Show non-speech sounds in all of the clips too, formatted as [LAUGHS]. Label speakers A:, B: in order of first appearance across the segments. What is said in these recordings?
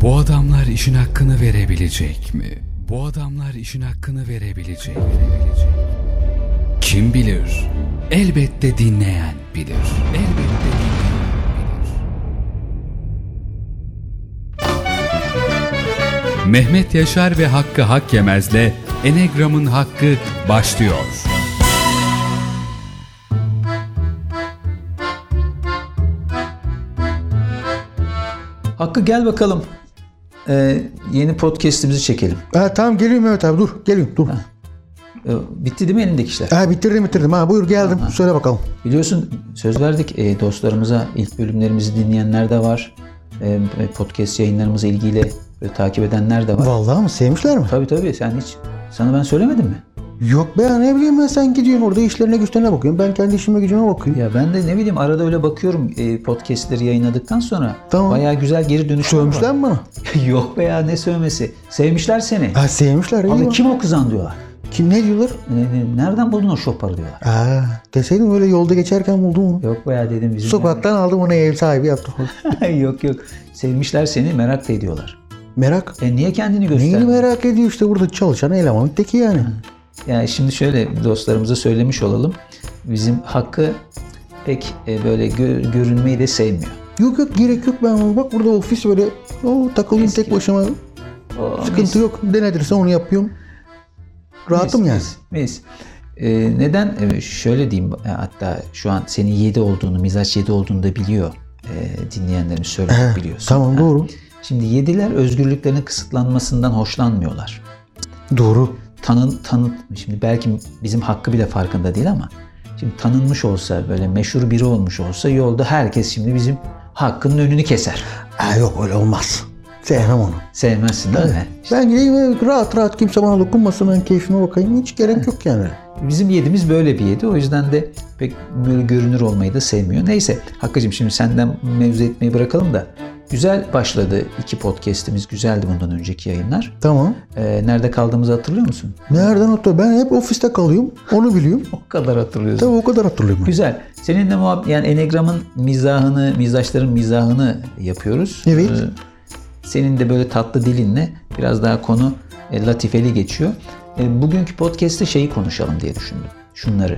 A: Bu adamlar işin hakkını verebilecek mi? Bu adamlar işin hakkını verebilecek, verebilecek. Kim bilir? Elbette dinleyen bilir. Elbette dinleyen bilir. Mehmet Yaşar ve Hakkı Hak Yemez'le Enegram'ın Hakkı başlıyor.
B: Hakkı gel bakalım. Ee, yeni podcast'imizi çekelim.
C: Ha, tamam geliyorum Mehmet abi dur geliyorum dur.
B: Ee, bitti değil mi elindeki işler?
C: Ha, bitirdim bitirdim ha buyur geldim söyle bakalım.
B: Biliyorsun söz verdik e, dostlarımıza ilk bölümlerimizi dinleyenler de var. E, e, podcast yayınlarımızı ilgiyle e, takip edenler de var.
C: Vallahi mı sevmişler mi?
B: Tabii tabii sen hiç sana ben söylemedim mi?
C: Yok be ne bileyim ben sen gidiyorsun orada işlerine güçlerine bakıyorsun ben kendi işime gücüme bakıyorum.
B: Ya ben de ne bileyim arada öyle bakıyorum e, podcast'leri yayınladıktan sonra
C: Tamam.
B: bayağı güzel geri dönüşler var.
C: Sövmüşler mi bana?
B: [LAUGHS] Yok be ya ne sövmesi. Sevmişler seni.
C: Ha sevmişler iyi
B: Abi
C: bak.
B: kim o kızan diyorlar.
C: Kim ne diyorlar?
B: E, e, nereden buldun o şoparı diyorlar.
C: Ha, deseydim öyle yolda geçerken buldum onu.
B: Yok be ya dedim bizim.
C: Sokaktan aldım onu ev sahibi yaptım.
B: [LAUGHS] yok yok. Sevmişler seni merak da ediyorlar.
C: merak.
B: E niye kendini göster?
C: Neyini merak ediyor işte burada çalışan eleman teki yani.
B: Yani şimdi şöyle dostlarımıza söylemiş olalım. Bizim Hakkı pek e, böyle gö- görünmeyi de sevmiyor.
C: Yok yok gerek yok ben bak burada ofis böyle o takılayım tek başıma
B: O, mis,
C: sıkıntı yok ne nedirse onu yapıyorum. Rahatım
B: mis,
C: yani.
B: mis, mis. E, neden? E, şöyle diyeyim e, hatta şu an senin 7 olduğunu, mizaç 7 olduğunu da biliyor. E, dinleyenlerimiz söylemek biliyorsun.
C: Tamam
B: Ha.
C: doğru.
B: Şimdi 7'ler özgürlüklerinin kısıtlanmasından hoşlanmıyorlar.
C: Doğru.
B: tanın tanın şimdi belki bizim hakkı bile farkında değil ama şimdi tanınmış olsa böyle meşhur biri olmuş olsa yolda herkes şimdi bizim hakkının önünü keser.
C: Ha, yok öyle olmaz. Sevmem onu.
B: Sevmezsin değil mi? İşte
C: Ben gideyim e, rahat rahat kimse bana dokunmasın ben keyfime bakayım. Hiç gerek yok yani.
B: bizim yedimiz böyle bir yedi. O yüzden de pek böyle görünür olmayı da sevmiyor. Neyse Hakkı'cığım şimdi senden mevzu etmeyi bırakalım da. Güzel başladı iki podcast'imiz. Güzeldi bundan önceki yayınlar.
C: Tamam.
B: Ee, nerede kaldığımızı hatırlıyor musun?
C: Nereden hatırlıyorum? Ben hep ofiste kalıyorum. Onu biliyorum.
B: O kadar hatırlıyorsun.
C: Tabii o kadar hatırlıyorum. ben.
B: Güzel. Seninle muhab yani Enegram'ın mizahını, mizaçların mizahını yapıyoruz. Ee,
C: Evet.
B: senin de böyle tatlı dilinle biraz daha konu e, latifeli geçiyor. E, bugünkü podcast'te şeyi konuşalım diye düşündüm. Şunları.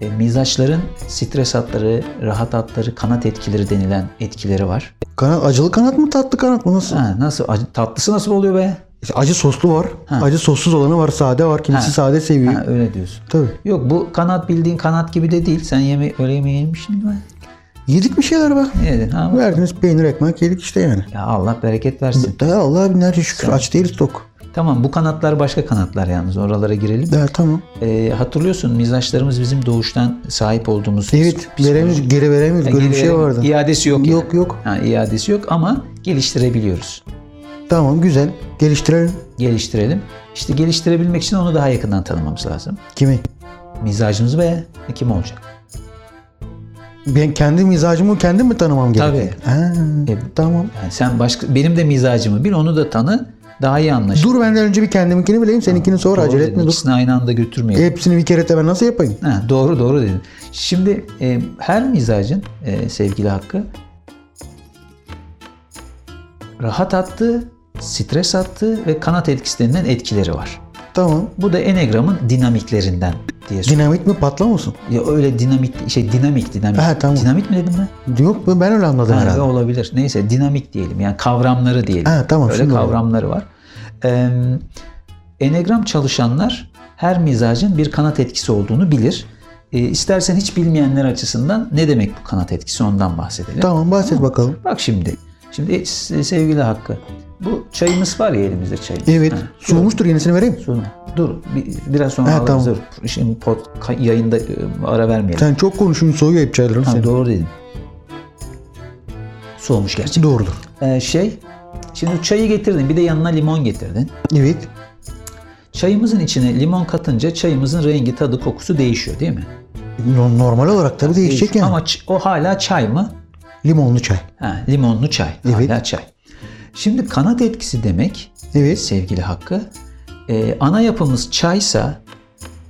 B: E, mizaçların stres hatları, rahat hatları, kanat etkileri denilen etkileri var.
C: Kanat, acılı kanat mı tatlı kanat mı? Nasıl?
B: Ha, nasıl acı- tatlısı nasıl oluyor be?
C: İşte Acı soslu var. Acı sossuz olanı var. Sade var. Kimisi
B: Ha.
C: sade seviyor.
B: Ha, öyle diyorsun.
C: Tabii.
B: Yok bu kanat bildiğin kanat gibi de değil. Sen yeme öyle yemeği yemişsin mi?
C: Yedik bir şeyler be.
B: Yedin ha?
C: Verdiniz peynir ekmek yedik işte yani.
B: Ya Allah bereket versin.
C: Da Allah binlerce şükür aç değiliz tok.
B: Tamam bu kanatlar başka kanatlar yalnız oralara girelim.
C: Da tamam.
B: Ee, hatırlıyorsun mizaçlarımız bizim doğuştan sahip olduğumuz.
C: Evet veremiyoruz, geri veremiyoruz. Böyle bir şey
B: Geri-
C: vardı.
B: İadesi yok. yani.
C: Yok, yok.
B: Ha, iadesi yok ama geliştirebiliyoruz.
C: Tamam güzel. Geliştirelim.
B: Geliştirelim. İşte geliştirebilmek için onu daha yakından tanımamız lazım.
C: Kimi?
B: Mizacımız ve kim olacak?
C: Ben kendi mizacımı kendim mi tanımam gerekiyor? Tabii. tamam.
B: Yani sen başka benim de mizacımı bil onu da tanı daha iyi anlaşılır.
C: Dur benden önce bir kendiminkini bileyim seninkini sonra acele etme dur.
B: İkisini aynı anda götürmeyelim.
C: Hepsini bir kere de ben nasıl yapayım?
B: Ha, doğru doğru dedin. Şimdi e, her mizacın e, sevgili Hakkı rahat attı, stres attı ve kanat etkisi denilen etkileri var.
C: Tamam.
B: Bu da enegramın dinamiklerinden diye söylüyor.
C: Dinamit mi patlamasın?
B: Ya öyle dinamik şey dinamik dinamik.
C: Ha, tamam.
B: Dinamik mi dedim ben?
C: Yok be, ben öyle anladım
B: Ha,
C: herhalde.
B: olabilir. Neyse dinamik diyelim. Yani kavramları diyelim.
C: Ha, tamam,
B: Öyle
C: şimdi oldu.
B: kavramları var. Ee, enegram çalışanlar her mizacın bir kanat etkisi olduğunu bilir. Ee, istersen hiç bilmeyenler açısından ne demek bu kanat etkisi ondan bahsedelim.
C: Tamam bahset bakalım.
B: Bak şimdi. Şimdi e, s- sevgili Hakkı. Bu çayımız var ya elimizde çayımız.
C: Evet.
B: Ha,
C: Soğumuştur yenisini vereyim.
B: Dur, dur. Bir- biraz sonra
C: Ha,
B: alırız.
C: tamam.
B: Dur. Şimdi pod- ka- yayında e, ara vermeyelim.
C: Sen çok konuşun soğuyor hep çayların
B: Ha,
C: senin.
B: doğru dedim. Soğumuş gerçi.
C: Doğrudur.
B: Ee, şey, şimdi çayı getirdin, bir de yanına limon getirdin.
C: Evet.
B: Çayımızın içine limon katınca çayımızın rengi, tadı, kokusu değişiyor değil mi?
C: No- Normal olarak tabii değişecek yani.
B: Ama ç- o hala çay mı?
C: Limonlu çay.
B: Ha, limonlu çay,
C: Evet.
B: hala çay. Şimdi kanat etkisi demek,
C: Evet.
B: sevgili Hakkı, e, ana yapımız çaysa,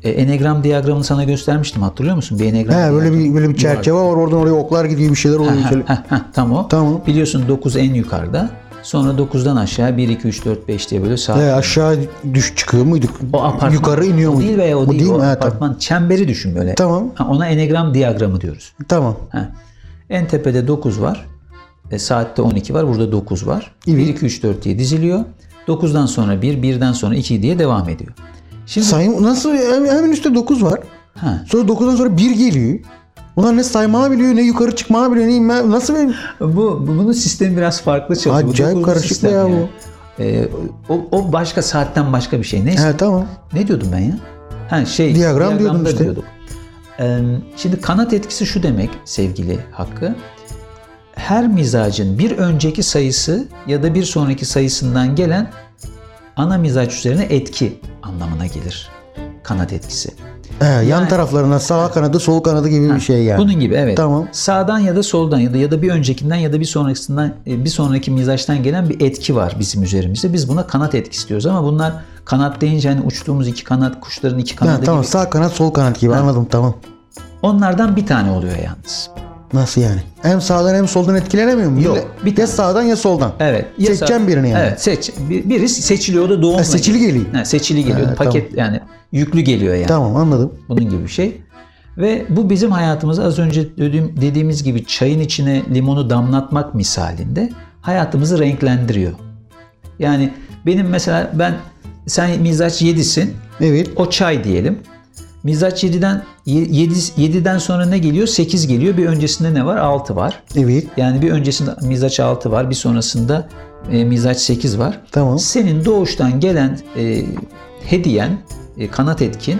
B: e, enegram diyagramını sana göstermiştim hatırlıyor musun? Bir enegram
C: Ha, böyle
B: diyagramı.
C: bir böyle bir çerçeve var. Oradan oraya oklar gidiyor bir şeyler oluyor.
B: Ha,
C: şöyle.
B: ha, ha, tam o.
C: Tamam.
B: Biliyorsun 9 en yukarıda. Sonra 9'dan aşağı 1, 2, 3, 4, 5 diye böyle saat.
C: E, aşağı düş çıkıyor muyduk?
B: O apartman.
C: Yukarı iniyor
B: o
C: muyduk?
B: değil veya o
C: Bu
B: değil.
C: değil
B: o
C: mi? Ha,
B: apartman çemberi düşün böyle.
C: Tamam.
B: Ha, ona enegram diyagramı diyoruz.
C: Tamam.
B: Ha. En tepede 9 var. E, saatte 12 var. Burada 9 var. 1, 2, 3, 4 diye diziliyor. 9'dan sonra 1, 1'den sonra 2 diye devam ediyor. Şimdi
C: Sayım nasıl hem- hemen üstte 9 var.
B: ha,
C: Sonra 9'dan sonra 1 geliyor. Bunlar ne sayma biliyor, ne yukarı çıkma biliyor, ne inme. Nasıl benim?
B: bu, bu- bunun sistemi biraz farklı çalışıyor. Bu
C: Acayip
B: dokuzlu
C: karışık
B: sistem
C: ya
B: yani.
C: bu.
B: E, o, o başka saatten başka bir şey. Neyse.
C: He tamam.
B: Ne diyordum ben ya? Ha şey.
C: Diyagram
B: diyagramda
C: diyordun işte.
B: diyorduk. Ee, şimdi kanat etkisi şu demek sevgili Hakkı. Her mizacın bir önceki sayısı ya da bir sonraki sayısından gelen ana mizaç üzerine etki anlamına gelir. Kanat etkisi.
C: He, yan taraflarına sağ kanadı, sol kanadı gibi bir şey yani.
B: Bunun gibi evet.
C: Tamam.
B: Sağdan ya da soldan ya da ya da bir öncekinden ya da bir sonrakisinden e, bir sonraki mizaçtan gelen bir etki var bizim üzerimizde. Biz buna kanat etkisi diyoruz ama bunlar kanat deyince hani uçtuğumuz iki kanat, kuşların iki
C: Ha,
B: kanadı
C: tamam
B: gibi
C: sağ kanat, sol kanat gibi anladım tamam.
B: Onlardan bir tane oluyor yalnız.
C: Nasıl yani? Hem sağdan hem soldan etkilenemiyor mu?
B: Yok,
C: Bir ya sağdan ya soldan.
B: Evet. ya
C: Seçeceğim
B: sa-
C: birini yani.
B: Evet, seç. bir- Biri seçiliyor da doğumla.
C: Ha, seçili geliyor.
B: Ha, seçili geliyor.
C: Ha,
B: Paket yani yüklü geliyor yani.
C: Tamam anladım.
B: Bunun gibi bir şey. Ve bu bizim hayatımızı az önce dediğim, dediğimiz gibi çayın içine limonu damlatmak misalinde hayatımızı renklendiriyor. Yani benim mesela ben sen mizaç 7'sin.
C: Evet.
B: O çay diyelim. Mizaç 7'den 7, 7'den sonra ne geliyor? 8 geliyor. Bir öncesinde ne var? 6 var.
C: Evet.
B: Yani bir öncesinde mizaç 6 var, bir sonrasında e, mizaç 8 var.
C: Tamam.
B: Senin doğuştan gelen e, hediyen, e, kanat etkin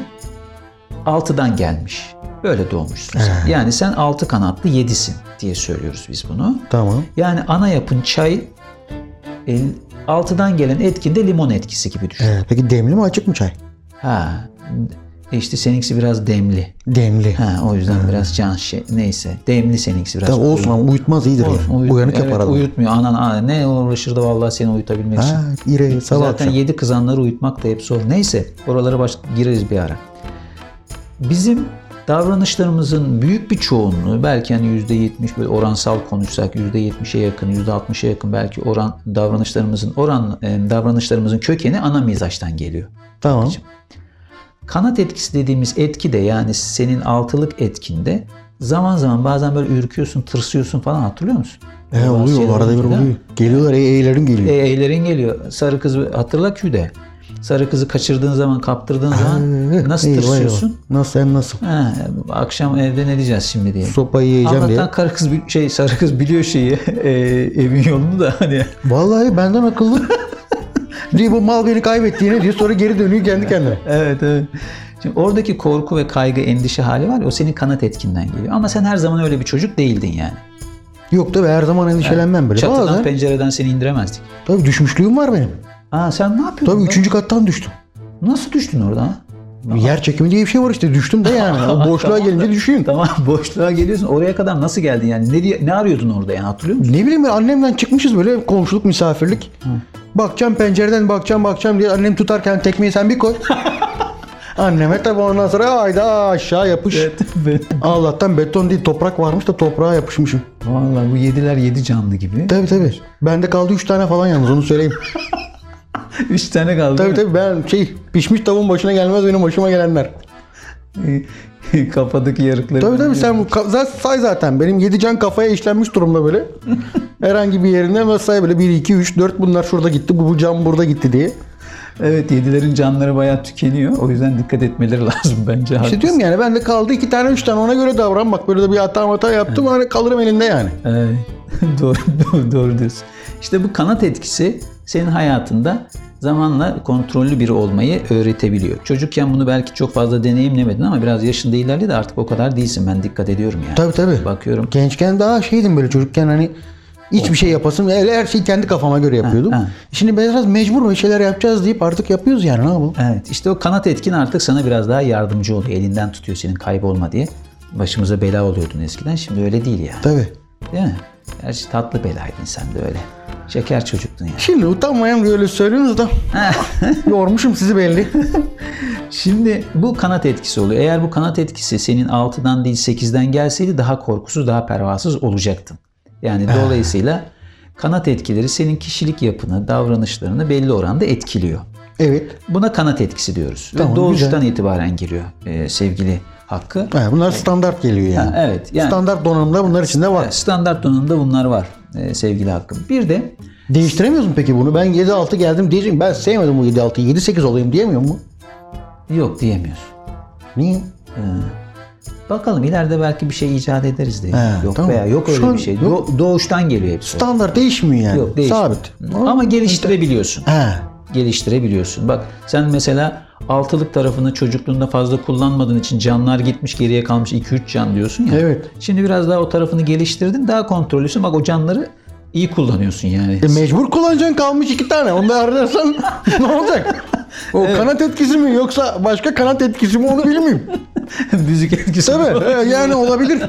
B: 6'dan gelmiş. Böyle doğmuşsun sen. Yani sen 6 kanatlı 7'sin diye söylüyoruz biz bunu.
C: Tamam.
B: Yani ana yapın çay, e, 6'dan gelen etkin de limon etkisi gibi düşün.
C: He, peki demli mi açık mı çay?
B: Ha. e işte seninkisi biraz demli.
C: Demli.
B: Ha, o yüzden biraz can şey. Neyse. Demli seninkisi biraz.
C: Tamam, olsun
B: koyu.
C: ama uyutmaz iyidir
B: Olsun,
C: yani.
B: uyut-
C: Uyanık
B: evet,
C: yapar adam.
B: Uyutmuyor. Anan, anan ne uğraşır da vallahi seni uyutabilmek için.
C: Ha, ire, sabah
B: Zaten
C: akşam.
B: yedi kızanları uyutmak da hep zor. Neyse oralara baş gireriz bir ara. Bizim davranışlarımızın büyük bir çoğunluğu belki hani %70 böyle oransal konuşsak %70'e yakın, %60'a yakın belki oran davranışlarımızın oran e, davranışlarımızın kökeni ana mizaçtan geliyor.
C: Tamam.
B: Kanat etkisi dediğimiz etki de yani senin altılık etkinde zaman zaman bazen böyle ürküyorsun, tırsıyorsun falan hatırlıyor musun?
C: He,
B: Bazı
C: oluyor
B: şeyler
C: arada bir
B: değil mi?
C: oluyor. Geliyorlar ey eylerim geliyor.
B: şey E, eylerin geliyor. Sarı kızı hatırla küde. Sarı kızı kaçırdığın zaman, kaptırdığın zaman
C: Hı,
B: nasıl
C: eyvah, eyvah.
B: tırsıyorsun?
C: Nasıl sen nasıl?
B: Ha, akşam evde ne diyeceğiz şimdi diye.
C: Sopayı yiyeceğim diye.
B: Allah'tan karı kız bi- şey sarı kız biliyor şeyi [LAUGHS] e, evin yolunu da hani
C: Vallahi benden akıllı.
B: [LAUGHS]
C: diye bu mal beni kaybetti yine diyor. Sonra geri dönüyor kendi kendine.
B: evet evet. Şimdi oradaki korku ve kaygı endişe hali var ya o senin kanat etkinden geliyor. Ama sen her zaman öyle bir çocuk değildin yani.
C: Yok tabii her zaman endişelenmem böyle.
B: Çatıdan
C: Bazen
B: pencereden seni indiremezdik.
C: tabii düşmüşlüğüm var benim.
B: Aa sen ne yapıyordun?
C: Tabii
B: lan?
C: üçüncü kattan düştüm.
B: Nasıl düştün oradan?
C: Yer çekimi diye bir şey var işte düştüm
B: [LAUGHS]
C: de yani. O boşluğa
B: Tamam da-
C: gelince düşüyüm.
B: Tamam [LAUGHS] boşluğa geliyorsun. Oraya kadar nasıl geldin yani? Ne, diye- ne arıyordun orada yani hatırlıyor [LAUGHS] musun?
C: Ne bileyim ben annemden çıkmışız böyle komşuluk misafirlik. Bakacağım pencereden bakacağım bakacağım diye annem tutarken tekmeyi sen bir koy. Anneme tabii ondan sonra ayda aşağı yapış. Allah'tan beton değil toprak varmış da toprağa yapışmışım.
B: Vallahi bu yediler yedi canlı gibi. [LAUGHS]
C: Tabii tabii. Bende kaldı 3 tane falan yalnız onu söyleyeyim.
B: Üç tane kaldı.
C: tabii tabii ben şey pişmiş tavuğun başına gelmez benim başıma gelenler.
B: tabii. [LAUGHS] Kafadaki yarıkları.
C: Tabii tabii sen bu ka- zaten say zaten benim 7 can kafaya işlenmiş durumda böyle. Herhangi bir yerine böyle say böyle 1 2 3 4 bunlar şurada gitti bu, bu cam burada gitti diye.
B: Evet yedilerin canları bayağı tükeniyor. O yüzden dikkat etmeleri [LAUGHS] lazım bence.
C: İşte
B: haklısın.
C: diyorum yani bende kaldı 2 tane 3 tane ona göre davran bak böyle de bir hata hata yaptım hani kalırım elinde yani.
B: Evet. Ee, [LAUGHS] doğru, doğru, doğru diyorsun. İşte bu kanat etkisi senin hayatında zamanla kontrollü biri olmayı öğretebiliyor. Çocukken bunu belki çok fazla deneyimlemedin ama biraz yaşında ilerledi artık o kadar değilsin. Ben dikkat ediyorum yani.
C: Tabii tabii.
B: Bakıyorum.
C: Gençken daha şeydim böyle çocukken hani hiçbir şey yapasım. öyle Her şeyi kendi kafama göre yapıyordum.
B: ha.
C: Şimdi biraz mecbur bir şeyler yapacağız deyip artık yapıyoruz yani ne yapalım.
B: Evet işte o kanat etkin artık sana biraz daha yardımcı oluyor. Elinden tutuyor senin kaybolma diye. Başımıza bela oluyordun eskiden şimdi öyle değil yani.
C: Tabii.
B: Değil mi? Gerçi tatlı belaydın sen de öyle. Şeker çocuktun yani.
C: Şimdi utanmayan böyle söylüyorsunuz da [LAUGHS] yormuşum sizi belli.
B: Şimdi bu kanat etkisi oluyor. Eğer bu kanat etkisi senin 6'dan
C: Eh.
B: değil 8'den gelseydi daha korkusuz, daha pervasız olacaktın. Yani dolayısıyla Kanat etkileri senin kişilik yapını, davranışlarını belli oranda etkiliyor.
C: Evet.
B: Buna kanat etkisi diyoruz. Ve
C: Tamam,
B: doğuştan itibaren giriyor e, sevgili Hakkı.
C: Ha, bunlar standart geliyor yani.
B: Ha, evet, yani-
C: Standart donanımlar bunlar içinde var.
B: Standart donanımda bunlar var e, sevgili Hakkım. Bir de
C: Değiştiremiyoruz mu peki bunu? Ben 7-6 geldim diyeceğim. Ben sevmedim bu 7-6'yı. 7-8 olayım diyemiyor mu?
B: yok diyemiyoruz.
C: Niye?
B: Bakalım ileride belki bir şey icat ederiz diye.
C: He,
B: yok
C: tamam.
B: veya yok
C: Şu
B: öyle
C: an
B: bir şey.
C: yok.
B: Do- doğuştan geliyor hepsi.
C: Standart değişmiyor yani.
B: Yok değil.
C: Sabit.
B: Ama geliştirebiliyorsun.
C: He.
B: Geliştirebiliyorsun. Bak sen mesela altılık tarafını çocukluğunda fazla kullanmadığın için canlar gitmiş geriye kalmış 2-3 can diyorsun ya.
C: Evet.
B: Şimdi biraz daha o tarafını geliştirdin daha kontrollüsün. Bak o canları iyi kullanıyorsun yani.
C: E mecbur kullanacaksın kalmış iki tane. Onu da harcarsan [LAUGHS] ne olacak? O kanat etkisi mi yoksa başka kanat etkisi mi onu bilmiyorum.
B: [LAUGHS] Müzik etkisi.
C: Tabii. e, yani olabilir.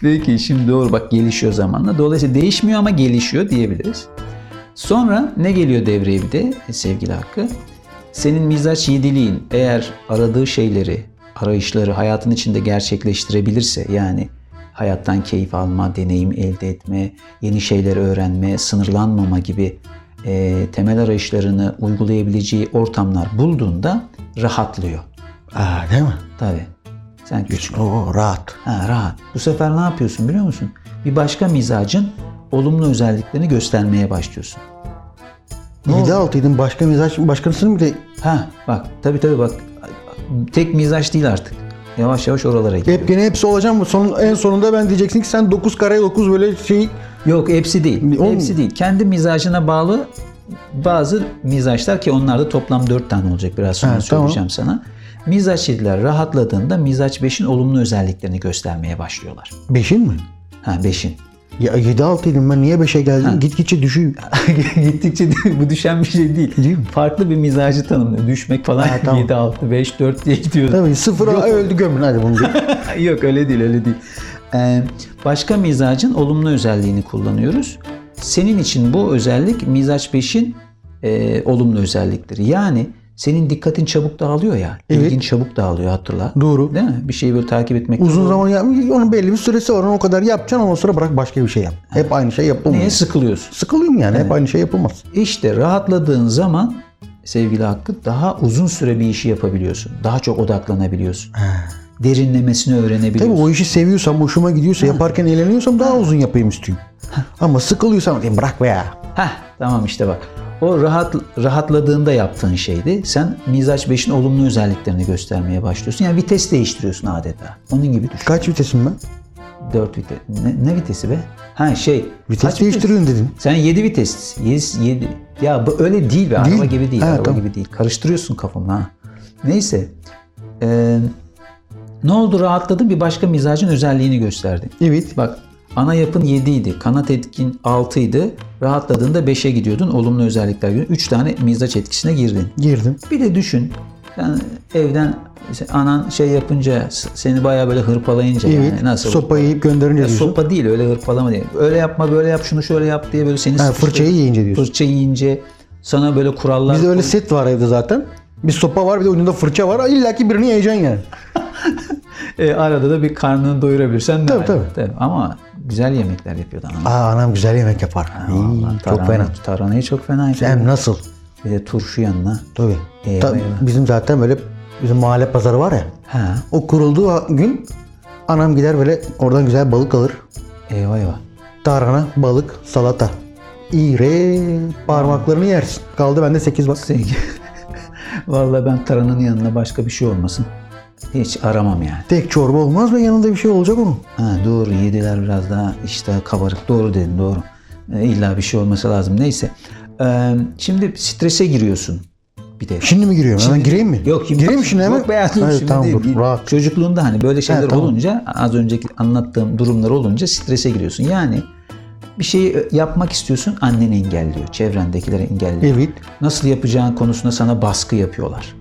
B: Peki şimdi doğru bak gelişiyor zamanla. Dolayısıyla değişmiyor ama gelişiyor diyebiliriz. Sonra ne geliyor devreye bir de e, sevgili Hakkı? Senin mizaç yediliğin eğer aradığı şeyleri, arayışları hayatın içinde gerçekleştirebilirse yani hayattan keyif alma, deneyim elde etme, yeni şeyler öğrenme, sınırlanmama gibi e, temel arayışlarını uygulayabileceği ortamlar bulduğunda rahatlıyor.
C: Aa, değil mi?
B: Tabii. Sen küçük
C: Oo, rahat.
B: Ha, rahat. Bu sefer ne yapıyorsun biliyor musun? Bir başka mizacın olumlu özelliklerini göstermeye başlıyorsun. Ne oldu?
C: 7-6'ydın başka mizaç başkasının bir de
B: Ha bak tabii tabii bak tek mizaç değil artık. Yavaş yavaş oralara gidiyor.
C: hep gene hepsi olacağım mı? Sonun, en sonunda ben diyeceksin ki sen 9 karaya 9 böyle şey
B: Yok hepsi değil.
C: Oğlum-
B: Hepsi değil. Kendi mizacına bağlı bazı mizaçlar ki onlar da toplam 4 tane olacak biraz sonra
C: Ha, tamam.
B: söyleyeceğim sana. Mizaç 7'ler rahatladığında mizaç 5'in olumlu özelliklerini göstermeye başlıyorlar.
C: 5'in mi?
B: Ha 5'in.
C: Ya 7-6'ydım ben niye 5'e geldim? Gitgitçe düşüyor.
B: [LAUGHS] gittikçe de- bu düşen bir şey değil. Farklı bir mizacı tanımlıyor. Düşmek falan
C: tamam.
B: 7, 6, 5, 4 diye gidiyor.
C: Tabii sıfıra öldü gömün hadi bunu. diyor.
B: [LAUGHS] Yok öyle değil öyle değil. Ee, başka mizacın olumlu özelliğini kullanıyoruz. Senin için bu özellik mizaç 5'in e, olumlu özellikleri. Yani senin dikkatin çabuk dağılıyor ya. İlgin çabuk dağılıyor hatırla.
C: Doğru.
B: Değil mi? Bir şeyi böyle takip etmek.
C: Uzun zaman yapmıyor. Onun belli bir süresi var. Onu o kadar yapacaksın. Ondan sonra bırak başka bir şey yap. Hep aynı şey yapılmıyor.
B: Neye sıkılıyorsun?
C: Sıkılıyorum yani. Hep aynı şey yapılmaz.
B: İşte rahatladığın zaman sevgili Hakkı daha uzun süre bir işi yapabiliyorsun. Daha çok odaklanabiliyorsun. Derinlemesini
C: Tabii
B: öğrenebiliyorsun.
C: o işi seviyorsam, hoşuma gidiyorsa, yaparken eğleniyorsam daha uzun yapayım istiyorum. Ama sıkılıyorsam diyeyim bırak be ya.
B: Heh, tamam işte bak. O rahat rahatladığında yaptığın şeydi. Sen mizaç 5'in olumlu özelliklerini göstermeye başlıyorsun. Yani vites değiştiriyorsun adeta. Onun gibi düşün.
C: Kaç vitesim ben?
B: 4 vites. Ne, ne vitesi be? Ha şey.
C: Vites
B: kaç vites?
C: değiştiriyorum dedim.
B: Sen 7 vites. 7, Ya bu öyle değil be.
C: Değil
B: Araba
C: mi?
B: gibi değil.
C: Ha,
B: araba
C: tamam.
B: gibi değil. Karıştırıyorsun kafamı ha. Neyse. Ee, ne oldu rahatladın? Bir başka mizacın özelliğini gösterdin.
C: Evet.
B: Bak ana yapın 7 idi. Kanat etkin 6 idi. Rahatladığında 5'e gidiyordun. Olumlu özellikler. 3 tane mizaç etkisine girdin.
C: Girdim.
B: Bir de düşün. Yani evden işte anan şey yapınca s- seni bayağı böyle hırpalayınca
C: Evet.
B: yani nasıl
C: Sopayı yiyip gönderince
B: ya
C: diyorsun.
B: sopa değil öyle hırpalama değil. Öyle yapma böyle yap şunu şöyle yap diye böyle seni
C: Ha,
B: sıkıştı-
C: fırçayı yiyince diyorsun.
B: fırça yiyince sana böyle kurallar
C: Bizde öyle set var evde zaten. Bir sopa var bir de ucunda fırça var. İlla ki birini yiyeceksin yani.
B: E, arada da bir karnını doyurabilirsen ne
C: Tabii,
B: var?
C: tabii.
B: Ama güzel yemekler yapıyordu anam.
C: Aa anam güzel yemek yapar. İyi,
B: Vallahi
C: çok
B: tarhana-
C: fena.
B: Tarhanayı çok fena yapıyor.
C: Hem nasıl?
B: Bir de turşu yanına.
C: Tabii.
B: Eyvah,
C: Ta-
B: eyvah.
C: bizim zaten böyle bizim mahalle pazarı var ya.
B: Ha,
C: O kurulduğu gün anam gider böyle oradan güzel balık alır.
B: eyvah eyvah.
C: Tarhana, balık, salata. İğrenç parmaklarını yersin. Kaldı bende 8 bak.
B: Sevgi. [LAUGHS] Vallahi ben taranın yanına başka bir şey olmasın. Hiç aramam yani.
C: Tek çorba olmaz mı? Yanında bir şey olacak onun.
B: Ha, doğru yediler biraz daha işte kabarık. Doğru dedin doğru. illa bir şey olması lazım. Neyse. Ee, şimdi strese giriyorsun bir de.
C: Şimdi mi giriyorum? Hemen gireyim mi?
B: Yok şimdi
C: Gireyim şimdi hemen.
B: Yok be hayatım,
C: Hayır,
B: şimdi
C: tamam
B: değil.
C: dur. Rahat.
B: Çocukluğunda hani böyle şeyler
C: tamam.
B: olunca az önceki anlattığım durumlar olunca strese giriyorsun. Yani bir şeyi yapmak istiyorsun annen engelliyor. Çevrendekiler engelliyor.
C: Evet.
B: Nasıl yapacağın konusunda sana baskı yapıyorlar.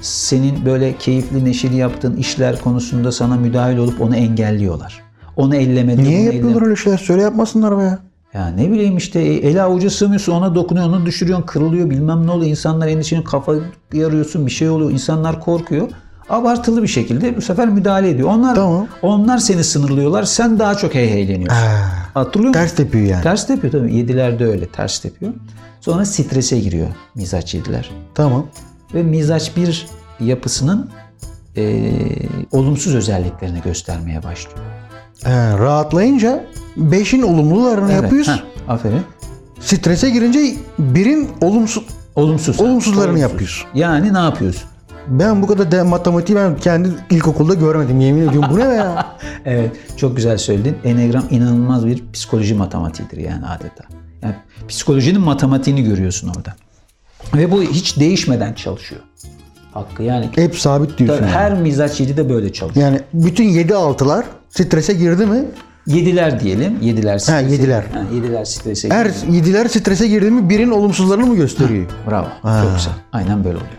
B: Senin böyle keyifli neşeli yaptığın işler konusunda sana müdahil olup onu engelliyorlar. Onu ellemedi.
C: Niye
B: onu
C: yapıyorlar öyle şeyler? Söyle yapmasınlar be ya.
B: ya ne bileyim işte e, el avuca sığmıyorsun ona dokunuyor onu düşürüyorsun kırılıyor bilmem ne oluyor insanlar endişenin kafa yarıyorsun bir şey oluyor insanlar korkuyor abartılı bir şekilde bu sefer müdahale ediyor. Onlar
C: Tamam.
B: onlar seni sınırlıyorlar. Sen daha çok heyheyleniyorsun. Hatırlıyor musun?
C: Ters tepiyor yani.
B: Ters tepiyor tabii. Yediler de öyle ters tepiyor. Sonra strese giriyor mizaç yediler.
C: Tamam.
B: Ve mizaç bir yapısının eee, olumsuz özelliklerini göstermeye başlıyor.
C: Ee, rahatlayınca 5'in olumlularını
B: Evet,
C: yapıyoruz.
B: heh, aferin.
C: Strese girince birin olumsuz
B: Olumsuz.
C: olumsuzlarını
B: Olumsuz.
C: yapıyoruz.
B: Yani ne yapıyoruz?
C: Ben bu kadar de, matematiği ben kendi ilkokulda görmedim yemin ediyorum. Bu ne be [LAUGHS] ya?
B: Evet, çok güzel söyledin. Enneagram inanılmaz bir psikoloji matematiğidir yani adeta. Yani psikolojinin matematiğini görüyorsun orada. Ve bu hiç değişmeden çalışıyor. Hakkı yani.
C: Hep sabit diyorsun.
B: Tabii
C: yani.
B: her mizaç 7 de böyle çalışıyor.
C: Yani bütün 7 altılar strese girdi mi?
B: Yediler diyelim. Yediler strese.
C: yediler.
B: Ha, yediler strese.
C: Her 7'ler Er strese girdi mi birin olumsuzlarını mı gösteriyor?
B: Bravo.
C: Ha.
B: Çok güzel. Aynen böyle oluyor.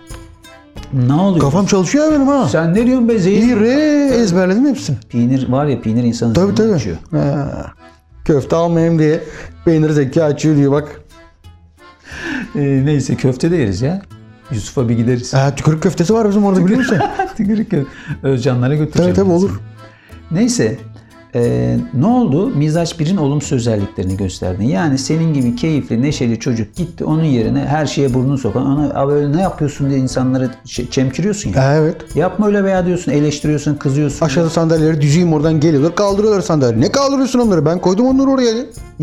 B: Ne oluyor?
C: Kafam çalışıyor ya benim ha.
B: Sen ne diyorsun be zehir?
C: Bir re ezberledim hepsini.
B: Peynir var ya peynir insanın
C: Tabii
B: zihnini
C: tabii.
B: açıyor.
C: Ha. Köfte almayayım diye peynir zeki açıyor diyor bak.
B: Ee, neyse köfte de yeriz ya. Yusuf'a bir gideriz. [LAUGHS]
C: Ha, tükürük köftesi var bizim orada biliyor musun?
B: Tükürük köfte. Özcanlara götüreceğim.
C: [LAUGHS] tabii tabii
B: ben
C: olur.
B: Neyse. eee, ne oldu? Mizaç birin olumsuz özelliklerini gösterdin. Yani senin gibi keyifli, neşeli çocuk gitti onun yerine her şeye burnunu sokan. Ana "Abi öyle ne yapıyorsun diye insanları ç- çemkiriyorsun ya.
C: Ha, evet.
B: Yapma öyle veya diyorsun, eleştiriyorsun, kızıyorsun.
C: Aşağıda sandalyeleri düzeyim oradan geliyorlar kaldırıyorlar sandalyeyi. Ne kaldırıyorsun onları? Ben koydum onları oraya.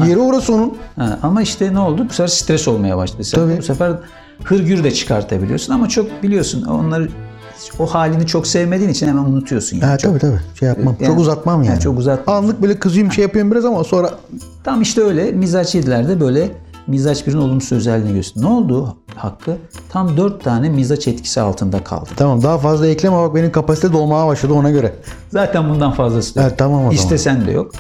C: Yeri orası onun.
B: Ha, ama işte ne oldu? Bu sefer stres olmaya başladı. Sen
C: Tabii.
B: Bu sefer hırgür de çıkartabiliyorsun ama çok biliyorsun onları o halini çok sevmediğin için hemen unutuyorsun. Yani.
C: Ha, tabii tabii. Şey yapmam.
B: Yani-
C: çok uzatmam yani.
B: Ha, çok uzatmam.
C: Anlık böyle kızayım şey yapıyorum biraz ama sonra
B: Tam işte öyle mizaç yediler de böyle mizaç birin olumsuz özelliğini gösteriyor. Ne oldu Hakkı? Tam dört tane mizaç etkisi altında kaldı.
C: tamam daha fazla ekleme bak benim kapasite dolmaya başladı ona göre.
B: Zaten bundan fazlası da
C: Ha,
B: yok.
C: tamam o zaman.
B: İstesen de yok.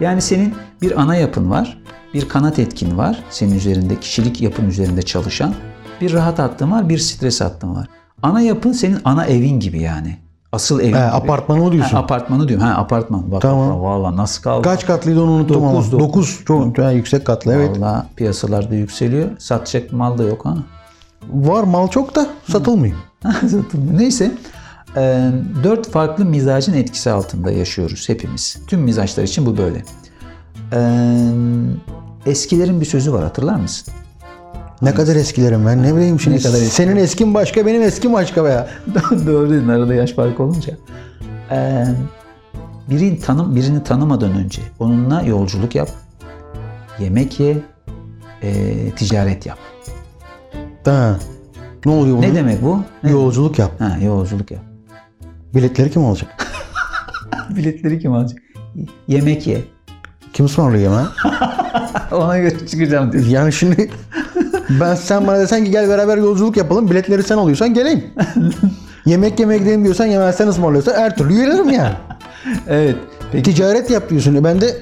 B: Yani senin bir ana yapın var, bir kanat etkin var senin üzerinde, kişilik yapın üzerinde çalışan. Bir rahat hattın var, bir stres hattın var. Ana yapın senin ana evin gibi yani. Asıl evin
C: He,
B: gibi.
C: apartmanı mı diyorsun?
B: Ha, apartmanı diyorum. Ha, apartman. Bak,
C: Tamam.
B: bak, Valla nasıl kaldı?
C: Kaç katlıydı onu unuttum
B: Dokuz,
C: ama.
B: dokuz.
C: 9. Çok ha, yüksek katlı evet.
B: Valla piyasalarda yükseliyor. Satacak mal da yok ha.
C: Var mal çok da satılmıyor.
B: [LAUGHS] Satılmıyor. Neyse. Ee, dört farklı mizacın etkisi altında yaşıyoruz hepimiz. Tüm mizaçlar için bu böyle. Ee, eskilerin bir sözü var hatırlar mısın? [LAUGHS]
C: Ne kadar eskilerim ben ne bileyim şimdi.
B: Ne kadar eski.
C: Senin eskin başka benim eskim başka be ya.
B: Doğru dedin arada yaş farkı olunca. Ee, birini, tanım, birini tanımadan önce onunla yolculuk yap. Yemek ye. ee, ticaret yap.
C: Ha. Ne oluyor bunun?
B: Ne demek bu? Ne-
C: Yolculuk yap.
B: Ha, yolculuk yap.
C: Biletleri kim alacak?
B: Biletleri kim alacak? Yemek ye.
C: Kim ısmarlıyor ha?
B: Ona göre çıkacağım diyor.
C: Yani şimdi ben sen bana desen ki gel beraber yolculuk yapalım biletleri sen
B: [LAUGHS]
C: alıyorsan geleyim. Yemek yemek gidelim diyorsan yemezsen ısmarlıyorsan her türlü gelirim yani.
B: Evet. [LAUGHS] Peki
C: Ticaret yap diyorsun. E Ben de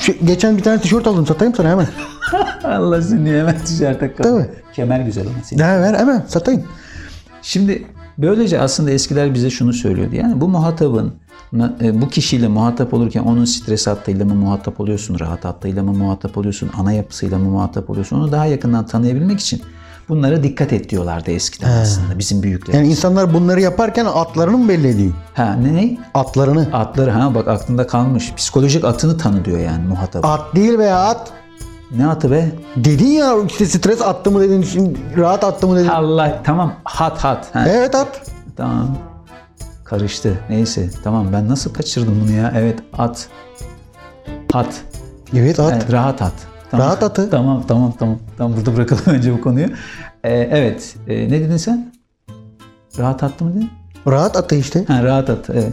C: şu- geçen bir tane tişört aldım satayım sana hemen.
B: Allah seni hemen ticarete kal.
C: Tabii.
B: Kemer güzel ama senin.
C: Ne ver hemen satayım.
B: Şimdi böylece aslında eskiler bize şunu söylüyordu. Yani bu muhatabın e, bu kişiyle muhatap olurken onun stres hattıyla mı muhatap oluyorsun, rahat hattıyla mı muhatap oluyorsun, ana yapısıyla mı muhatap oluyorsun onu daha yakından tanıyabilmek için bunlara dikkat et diyorlardı eskiden aslında bizim büyükler.
C: Yani insanlar bunları yaparken atlarını mı belli ediyor?
B: Ha ne ne?
C: Atlarını.
B: Atları ha bak aklında kalmış. Psikolojik atını tanı diyor yani muhatap.
C: At değil be at.
B: Ne atı be?
C: Dedin ya işte stres attı mı dedin, şimdi rahat attı mı dedin.
B: Allah tamam hat hat. Ha,
C: Evet at.
B: Tamam. Karıştı. Neyse. Tamam ben nasıl kaçırdım bunu ya? Evet at. Hat.
C: Evet at.
B: Evet, rahat at. Tamam.
C: Rahat atı.
B: Tamam tamam tamam. Tamam burada bırakalım [LAUGHS] önce bu konuyu. Ee, evet. Ee, ne dedin sen? Rahat attı mı dedin?
C: Rahat atı işte.
B: Ha, rahat at. Evet.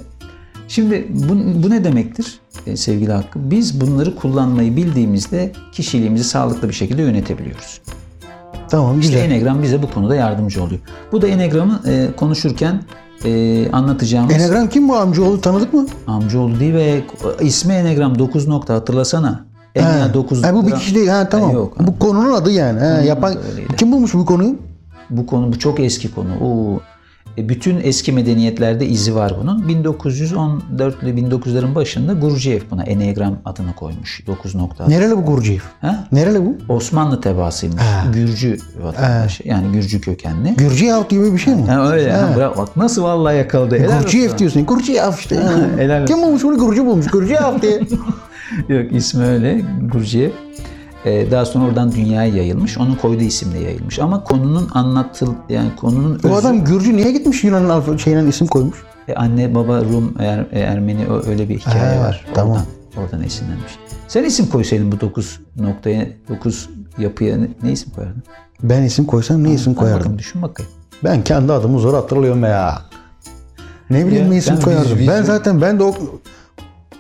B: Şimdi bu, bu ne demektir e, sevgili Hakkı? Biz bunları kullanmayı bildiğimizde kişiliğimizi sağlıklı bir şekilde yönetebiliyoruz.
C: Tamam
B: İşte
C: güzel.
B: Enneagram bize bu konuda yardımcı oluyor. Bu da Enneagram'ı e, konuşurken e, anlatacağımız...
C: Enegram kim bu amcaoğlu tanıdık mı?
B: Amcaoğlu değil ve ismi Enegram 9 nokta hatırlasana. Enneagram
C: Ha,
B: 9
C: ha, bu bir
B: nokta.
C: kişi değil. Ha tamam.
B: yok.
C: bu konunun adı yani. Ha, yapan
B: adı öyleydi.
C: kim bulmuş bu konuyu?
B: Bu konu bu çok eski konu. Oo. E, bütün eski medeniyetlerde izi var bunun. 1914'lü 1900'lerin başında Gurciev buna Enneagram adını koymuş. 9 nokta.
C: Nereli bu Gurciyev?
B: Ha?
C: Nereli bu?
B: Osmanlı tebaasıymış.
C: Ha.
B: Gürcü vatandaşı. Yani Gürcü kökenli.
C: Gürciyev gibi bir şey mi?
B: Ha, öyle. Ha. bravo. Bak nasıl vallahi yakaladı. Helal olsun.
C: Gurciyev diyorsun. Gurciyev işte.
B: helal olsun.
C: Kim bulmuş bunu? Gurcu bulmuş.
B: [LAUGHS]
C: Gurciyev diye.
B: Yok ismi öyle Gurciyev. Ee, daha sonra oradan dünyaya yayılmış. Onun koyduğu isimle yayılmış. Ama konunun anlatıl yani konunun
C: Bu
B: özü-
C: adam Gürcü niye gitmiş Yunan'ın alfa- şeyine isim koymuş?
B: E, anne baba Rum Er- e, Ermeni ö- öyle bir hikaye
C: Ha,
B: var.
C: tamam.
B: Oradan, oradan esinlenmiş. Sen isim koysaydın bu 9 noktaya 9 yapıya ne, ne isim koyardın?
C: Ben isim koysam ne isim
B: Hadi bakalım,
C: koyardım?
B: düşün bakayım.
C: Ben kendi adımı zor hatırlıyorum ya. Ne bileyim
B: Ya,
C: ne isim
B: ben-
C: koyardım.
B: biz- biz-
C: ben zaten ben de o,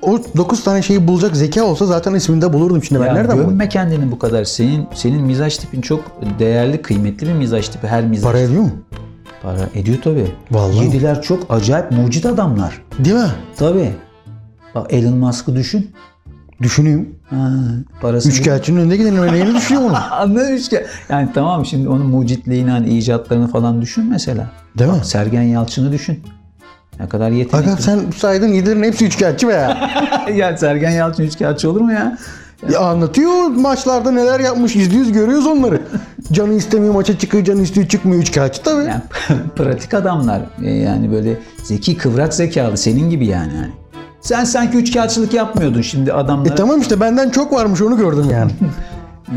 C: o 9 tane şeyi bulacak zeka olsa zaten isminde bulurdum şimdi ben.
B: Ya
C: Nereden bulayım?
B: gömme kendini bu kadar. Senin senin mizaj tipin çok değerli, kıymetli bir mizaj tipi. Her mizaj
C: Para
B: para,
C: ediyor mu?
B: para ediyor tabii.
C: Vallahi.
B: Yediler çok acayip mucit adamlar.
C: Değil mi?
B: Tabii. Bak Elon Musk'ı düşün.
C: Düşüneyim.
B: Ha, parası [LAUGHS]
C: Üçkağıtçının önüne gidelim. Ben neyini düşünüyorum onu?
B: Anladın üçgen. Yani tamam şimdi onun mucitliğini, hani icatlarını falan düşün mesela.
C: Değil mi?
B: Sergen Yalçın'ı düşün. Ne kadar yetenekli.
C: Fakat sen saydın yedilerin hepsi üçkağıtçı be ya.
B: [LAUGHS] ya Sergen Yalçın üçkağıtçı olur mu ya?
C: ya. Anlatıyor maçlarda neler yapmış izliyoruz görüyoruz onları. Canı istemiyor maça çıkıyor canı istiyor çıkmıyor üçkağıtçı tabii.
B: Yani [LAUGHS] pratik adamlar. Ee, Yani böyle zeki, kıvrak zekalı. Senin gibi yani. yani. Sen sanki üçkağıtçılık yapmıyordun şimdi adamlara.
C: E tamam işte benden çok varmış onu gördüm
B: [LAUGHS]
C: yani.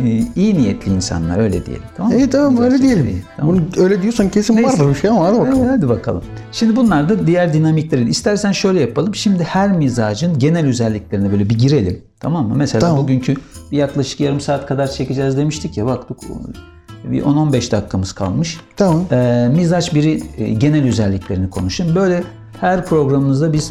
B: Ee, iyi niyetli insanlar öyle diyelim. Tamam mı?
C: İyi E, tamam
B: Güzel
C: öyle
B: şekilde
C: diyelim.
B: iyi, tamam.
C: Bunu öyle diyorsan kesin
B: Neyse.
C: vardır bir şey ama hadi bakalım.
B: Evet, hadi bakalım. Şimdi bunlar da diğer dinamikleri. İstersen şöyle yapalım. Şimdi her mizacın genel özelliklerine böyle bir girelim. Tamam mı? Mesela
C: Tamam.
B: bugünkü bir yaklaşık yarım saat kadar çekeceğiz demiştik ya. Baktık bir 10-15 dakikamız kalmış.
C: Tamam.
B: Ee, mizaç biri e, genel özelliklerini konuşun. Böyle her programımızda biz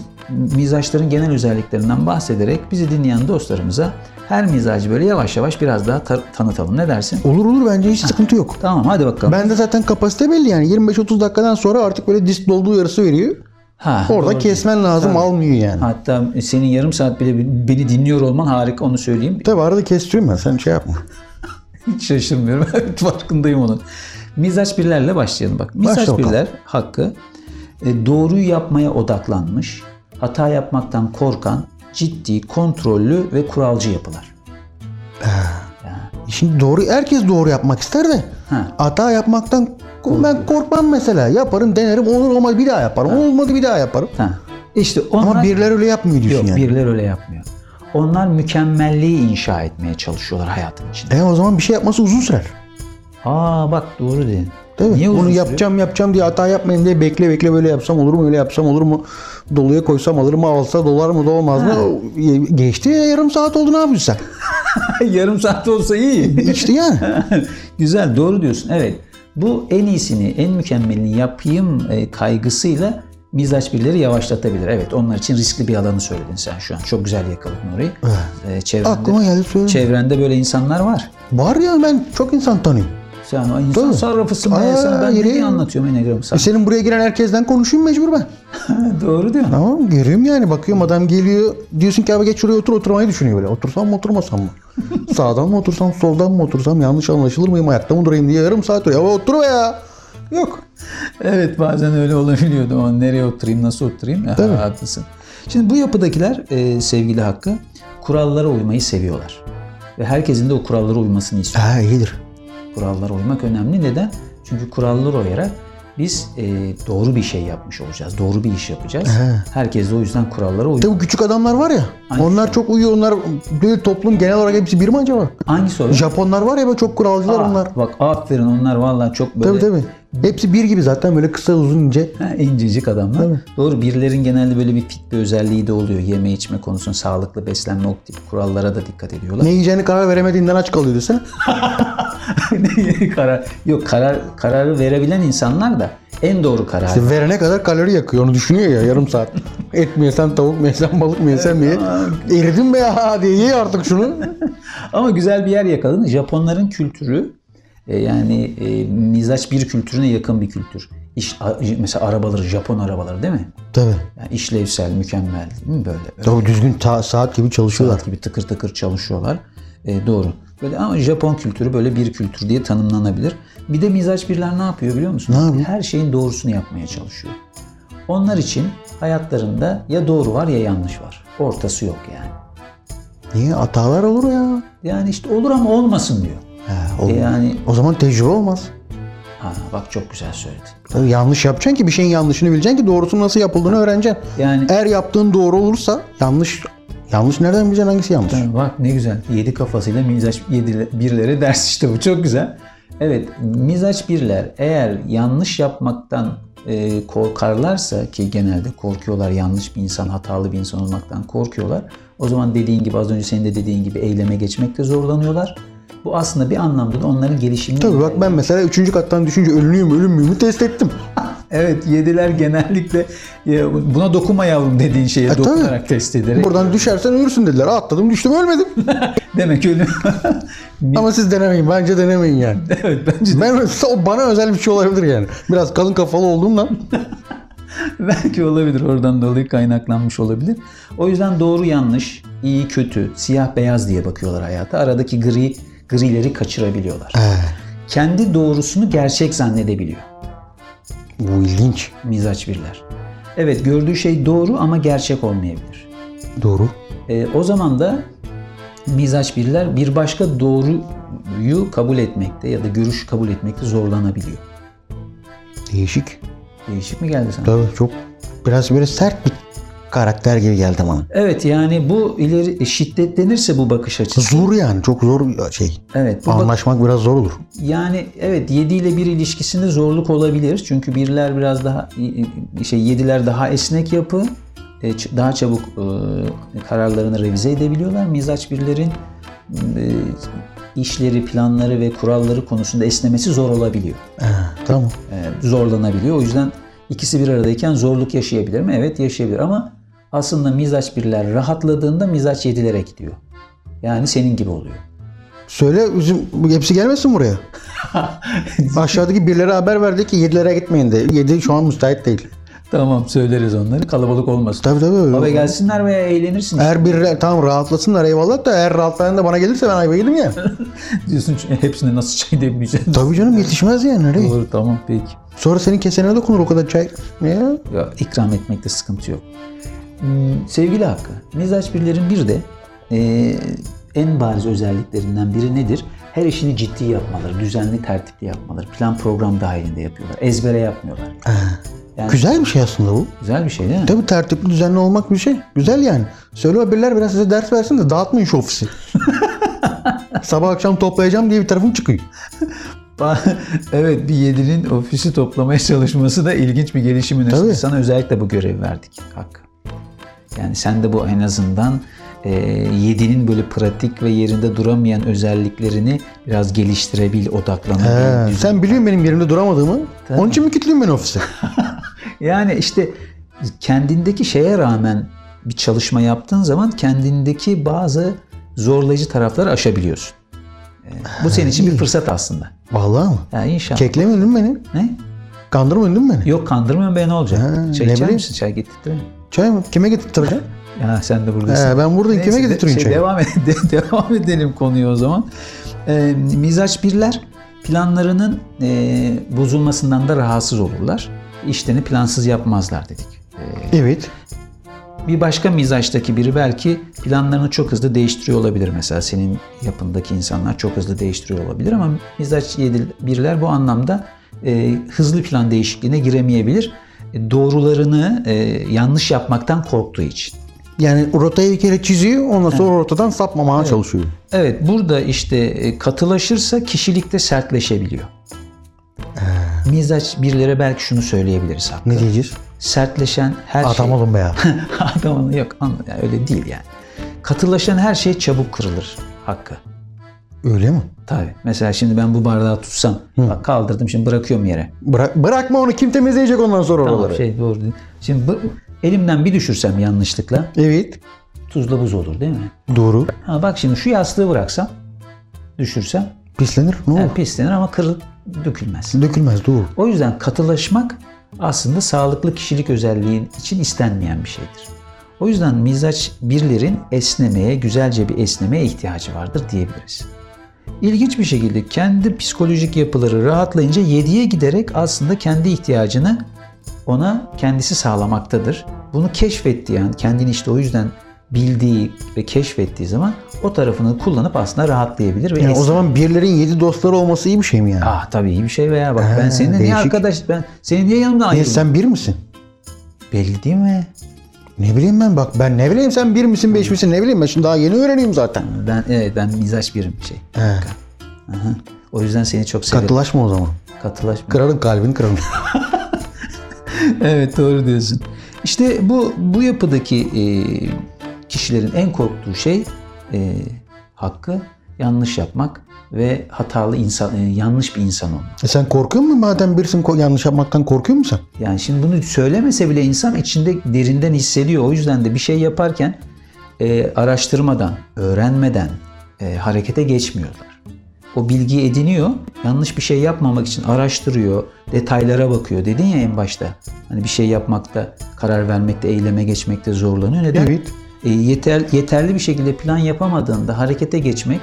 B: mizaçların genel özelliklerinden bahsederek bizi dinleyen dostlarımıza her mizacı böyle yavaş yavaş biraz daha ta- tanıtalım. Ne dersin?
C: Olur olur bence hiç sıkıntı yok.
B: Tamam hadi bakalım.
C: Ben de zaten kapasite belli yani 25-30 dakikadan sonra artık böyle disk dolduğu yarısı veriyor.
B: ha,
C: Orada
B: doğru.
C: kesmen lazım almıyor yani.
B: Hatta senin yarım saat bile beni dinliyor olman harika onu söyleyeyim.
C: Tabi arada kestiriyorum ben sen şey yapma.
B: Hiç şaşırmıyorum. [LAUGHS] Evet, Farkındayım onun. Mizaç birlerle başlayalım bak. Mizaç
C: Başla bakalım.
B: birler hakkı e, doğruyu yapmaya odaklanmış, hata yapmaktan korkan, ciddi, kontrollü ve kuralcı yapılar.
C: Şimdi doğru herkes doğru yapmak ister de
B: Ha.
C: hata yapmaktan ben korkmam mesela. Yaparım denerim olur olmaz bir daha yaparım. Olmadı bir daha yaparım.
B: Ha. İşte onlar
C: Ama birileri öyle yapmıyor diyorsun
B: yok,
C: yani.
B: birler öyle yapmıyor. Onlar mükemmelliği inşa etmeye çalışıyorlar hayatın içinde.
C: E o zaman bir şey yapması uzun sürer.
B: Aa bak doğru dedin.
C: Değil mi?
B: Niye uzun
C: Bunu
B: sürüyor?
C: yapacağım yapacağım diye hata yapmayın diye bekle bekle böyle yapsam olur mu öyle yapsam olur mu doluya koysam alır mı alsa dolar mı dolmaz mı geçti ya, yarım saat oldu
B: [LAUGHS]
C: ne yapıyorsun
B: [LAUGHS] Yarım saat olsa iyi.
C: [LAUGHS] sen işte yani
B: [LAUGHS] Güzel, doğru diyorsun. Evet. Bu en iyisini, en mükemmelini yapayım e, kaygısıyla mizaç birileri yavaşlatabilir. Evet, onlar için riskli bir alanı söyledin sen şu an. Çok güzel yakaladın orayı. E, çevrende,
C: aklıma geldi söyledim.
B: çevrende böyle insanlar var.
C: Var ya ben çok insan tanıyorum. E,
B: Sen o insan
C: Tabii.
B: sarrafısın be.
C: Aa,
B: sen ben
C: yürü.
B: neyi anlatıyorum enegramı
C: E
B: sana?
C: senin buraya giren herkesten konuşayım mecbur ben.
B: [LAUGHS] doğru diyorsun.
C: Tamam görüyorum yani bakıyorum adam geliyor diyorsun ki abi geç şuraya otur oturmayı düşünüyor böyle. Otursam mı oturmasam [LAUGHS] mı? Sağdan mı otursam soldan mı otursam yanlış anlaşılır mıyım ayakta mı durayım diye yarım saat duruyor. Ya otur be ya. Yok.
B: Evet bazen öyle olabiliyordu. Ama nereye oturayım, nasıl oturayım? Ha, haklısın. Şimdi bu yapıdakiler e, sevgili Hakkı kurallara uymayı seviyorlar. Ve herkesin de o kurallara uymasını istiyor.
C: Ha iyidir.
B: Kurallara uymak önemli. Neden? Çünkü kurallara uyarak biz e, doğru bir şey yapmış olacağız. Doğru bir iş yapacağız.
C: He.
B: Herkes de o yüzden kurallara
C: Bir
B: uyuyor.
C: de bu küçük adamlar var ya.
B: Hangi
C: Onlar çok uyuyor. Onlar böyle toplum genel olarak hepsi bir mi acaba?
B: Hangi soru?
C: Japonlar var ya böyle çok kuralcılar
B: Aa,
C: onlar.
B: Bak aferin onlar vallahi çok böyle
C: Tabii tabii. Hepsi bir gibi zaten böyle kısa uzun ince.
B: [LAUGHS] Ha, incecik adamlar. Doğru birilerin genelde böyle bir fit bir özelliği de oluyor. Yeme içme konusunda sağlıklı beslenme o tip kurallara da dikkat ediyorlar.
C: Ne yiyeceğini karar veremediğinden aç kalıyor desene.
B: Ne [LAUGHS] karar? Yok karar kararı verebilen insanlar da en doğru karar.
C: İşte verene kadar kalori yakıyor. Onu düşünüyor ya yarım saat. Et mi yesen, tavuk mu yesen, balık mı yesen diye. Eridim be ya diye ye artık şunu.
B: Ama güzel bir yer yakaladın. Japonların kültürü e, yani e, mizaç bir kültürüne yakın bir kültür. İş, a- mesela arabaları Japon arabaları değil mi?
C: Tabii.
B: Yani işlevsel, mükemmel değil mi böyle?
C: Tabii düzgün ta- saat gibi çalışıyorlar.
B: Saat gibi tıkır tıkır çalışıyorlar. E, doğru. Böyle ama Japon kültürü böyle bir kültür diye tanımlanabilir. Bir de mizaç birler ne yapıyor biliyor musun?
C: Ne yapıyor?
B: Her şeyin doğrusunu yapmaya çalışıyor. Onlar için hayatlarında ya doğru var ya yanlış var. Ortası yok yani.
C: Niye? Hatalar olur ya.
B: Yani işte olur ama olmasın diyor.
C: He, olur.
B: E yani
C: O zaman tecrübe olmaz.
B: ha, bak çok güzel söyledin.
C: Tabii yanlış yapacaksın ki bir şeyin yanlışını bileceksin ki doğrusunun nasıl yapıldığını öğreneceksin.
B: Yani-
C: Eğer yaptığın doğru olursa yanlış yanlış nereden bileceksin hangisi yanlış?
B: Yani Bak ne güzel. Yedi kafasıyla mizaç yedile- birlere ders işte bu. Çok güzel. Evet mizaç birler eğer yanlış yapmaktan e, korkarlarsa ki genelde korkuyorlar yanlış bir insan hatalı bir insan olmaktan korkuyorlar. O zaman dediğin gibi az önce senin de dediğin gibi eyleme geçmekte zorlanıyorlar. Bu aslında bir anlamda da onların gelişimini
C: Tabii bak ben mesela üçüncü kattan düşünce ölünüyüm ölüm müyümü test ettim.
B: Evet yediler genellikle e, buna dokunma yavrum dediğin şeye
C: E, tabii.
B: dokunarak test ederek.
C: Buradan düşersen ölürsün dediler. Atladım düştüm ölmedim.
B: Demek ki ölüm. [LAUGHS]
C: Ama siz denemeyin. Bence denemeyin [LAUGHS] yani.
B: evet bence
C: Ben [LAUGHS] o bana özel bir şey olabilir yani. Biraz kalın kafalı [LAUGHS] olduğumla.
B: [LAUGHS] Belki olabilir oradan dolayı kaynaklanmış olabilir. O yüzden doğru yanlış, iyi kötü, siyah beyaz diye bakıyorlar hayata. Aradaki gri grileri kaçırabiliyorlar. Kendi doğrusunu gerçek zannedebiliyor
C: Bu ilginç.
B: mizaç birler. Evet gördüğü şey doğru ama gerçek olmayabilir.
C: Doğru.
B: E, o zaman da mizaç birler bir başka doğruyu kabul etmekte ya da görüşü kabul etmekte zorlanabiliyor.
C: Değişik.
B: Değişik mi geldi sana?
C: Tabii çok biraz böyle sert bir karakter gibi geldi bana.
B: Evet yani bu ileri şiddetlenirse bu bakış açısı.
C: Zor yani. Çok zor şey.
B: Evet bu bakış
C: Anlaşmak biraz zor olur.
B: Yani evet 7 ile 1 ilişkisinde zorluk olabilir. Çünkü birler biraz daha şey 7'ler daha esnek yapı. e, ç- Daha çabuk e, kararlarını revize edebiliyorlar. Mizaç birlerin e, işleri, planları ve kuralları konusunda esnemesi zor olabiliyor.
C: He, tamam.
B: E, Zorlanabiliyor. O yüzden ikisi bir aradayken zorluk yaşayabilir mi? Evet yaşayabilir ama aslında mizaç birler rahatladığında mizaç 7'lere gidiyor. Yani senin gibi oluyor.
C: Söyle bizim bu hepsi gelmesin [LAUGHS] buraya. Aşağıdaki birilere haber verdi ki yedilere gitmeyin de. Yedi şu an müsait değil.
B: Tamam söyleriz onları. Kalabalık olmasın.
C: Tabii tabii.
B: Abi gelsinler veya eğlenirsin.
C: Eğer birileri tamam rahatlasınlar eyvallah da eğer rahatlayan da bana gelirse ben ayıba yedim ya.
B: Diyorsun çünkü hepsine nasıl çay [LAUGHS] demeyeceğim.
C: tabii canım yetişmez yani nereye?
B: Doğru tamam peki.
C: Sonra senin kesene dokunur o kadar çay. Ne?
B: Ya, ikram etmekte sıkıntı yok. Hmm, sevgili Hakkı, mizaç birlerin bir de e, en bariz özelliklerinden biri nedir? Her işini ciddi yapmaları, düzenli tertipli yapmaları, plan program dahilinde yapıyorlar. Ezbere yapmıyorlar. Yani-
C: Güzel bir şey aslında bu.
B: Güzel bir şey değil mi?
C: Tabii tertipli düzenli olmak bir şey. Güzel yani. Söyle o biriler biraz size ders versin de dağıtmayın
B: [LAUGHS]
C: şu ofisi. Sabah akşam toplayacağım diye bir tarafım çıkıyor.
B: [LAUGHS] evet bir yedinin ofisi toplamaya çalışması da ilginç bir gelişim
C: Tabii.
B: üniversitesi. Sana özellikle bu görevi verdik Hakkı. Yani sen de bu en azından e, yedinin böyle pratik ve yerinde duramayan özelliklerini biraz geliştirebil, odaklanabil. düzen-
C: He, sen biliyorsun benim yerimde duramadığımı. Onun için mi kilitliyorum ben ofise?
B: Yani işte kendindeki şeye rağmen bir çalışma yaptığın zaman kendindeki bazı zorlayıcı tarafları aşabiliyorsun. E, bu senin için bir fırsat aslında.
C: Vallahi mı?
B: Yani inşallah.
C: Keklemedin mi beni?
B: Ne?
C: Kandırmadın mı beni?
B: Yok kandırmıyorum ben ne olacak?
C: Ha,
B: çay
C: ne
B: içer
C: bileyim.
B: misin? Çay getirttireyim.
C: Çay mı? Kime getirttireceğim?
B: Ya sen de buradasın.
C: He, ben buradayım. Kime
B: Neyse, de-
C: getirttireyim
B: şey,
C: çayı?
B: Devam, ed- de- [LAUGHS] devam edelim konuyu o zaman. Ee, mizaç birler planlarının e, bozulmasından da rahatsız olurlar. İşlerini plansız yapmazlar dedik. Ee,
C: Evet.
B: bir başka mizaçtaki biri belki planlarını çok hızlı değiştiriyor olabilir. Mesela senin yapındaki insanlar çok hızlı değiştiriyor olabilir ama mizaç yedi- birler bu anlamda e, hızlı plan değişikliğine giremeyebilir. E, doğrularını e, yanlış yapmaktan korktuğu için.
C: Yani rotayı bir kere çiziyor ondan sonra rotadan sapmamaya çalışıyor.
B: Evet burada işte e, katılaşırsa kişilikte sertleşebiliyor. Mizaç birlere belki şunu söyleyebiliriz hakkı.
C: Ee. Ne diyeceğiz?
B: Sertleşen her
C: Adam
B: şey...
C: olun be ya.
B: [LAUGHS] Adam olun. Yok anla, yani öyle değil yani. Katılaşan her şey çabuk kırılır hakkı.
C: Öyle mi?
B: Tabii. Mesela şimdi ben bu bardağı tutsam, bak kaldırdım şimdi bırakıyorum yere.
C: Bırak, bırakma onu kim temizleyecek ondan sonra
B: Tamam,
C: oraları?
B: şey doğru. değil. Şimdi bu- elimden bir düşürsem yanlışlıkla
C: Evet.
B: tuzla buz olur değil mi?
C: Doğru.
B: Ha bak şimdi şu yastığı bıraksam, düşürsem
C: Pislenir. Ne olur?
B: yani pislenir ama kırılıp dökülmez.
C: Dökülmez. Doğru.
B: O yüzden katılaşmak aslında sağlıklı kişilik özelliği için istenmeyen bir şeydir. O yüzden mizaç birlerin esnemeye, güzelce bir esnemeye ihtiyacı vardır diyebiliriz. İlginç bir şekilde kendi psikolojik yapıları rahatlayınca yediye giderek aslında kendi ihtiyacını ona kendisi sağlamaktadır. Bunu keşfettiği an, kendini işte o yüzden bildiği ve keşfettiği zaman o tarafını kullanıp aslında rahatlayabilir ve
C: Yani o
B: es-
C: zaman birilerin yedi dostları olması iyi bir şey mi yani?
B: Ah tabii iyi bir şey veya bak ben
C: Ha,
B: seninle niye
C: değişik.
B: arkadaş ben senin niye yanımdan
C: Niye,
B: ayrıldım?
C: sen bir misin?
B: Belli değil mi?
C: Ne bileyim ben bak ben ne bileyim sen bir misin beş misin ne bileyim ben şimdi daha yeni öğreneyim zaten.
B: Ben evet ben mizaç birim şey.
C: He.
B: Aha. O yüzden seni çok seviyorum.
C: Katılaşma o zaman.
B: Katılaşma.
C: Kırarım kalbini kırarım.
B: [LAUGHS] evet doğru diyorsun. İşte bu bu yapıdaki e, kişilerin en korktuğu şey e, hakkı yanlış yapmak ve hatalı insan e, yanlış bir insan olmak.
C: E sen korkuyor musun madem birsin ko- yanlış yapmaktan korkuyor musun sen?
B: Yani şimdi bunu söylemese bile insan içinde derinden hissediyor. O yüzden de bir şey yaparken e, araştırmadan, öğrenmeden e, harekete geçmiyorlar. O bilgi ediniyor. Yanlış bir şey yapmamak için araştırıyor, detaylara bakıyor. Dedin ya en başta. Hani bir şey yapmakta, karar vermekte, eyleme geçmekte zorlanıyor. Neden?
C: Evet.
B: E, yeter, yeterli bir şekilde plan yapamadığında harekete geçmek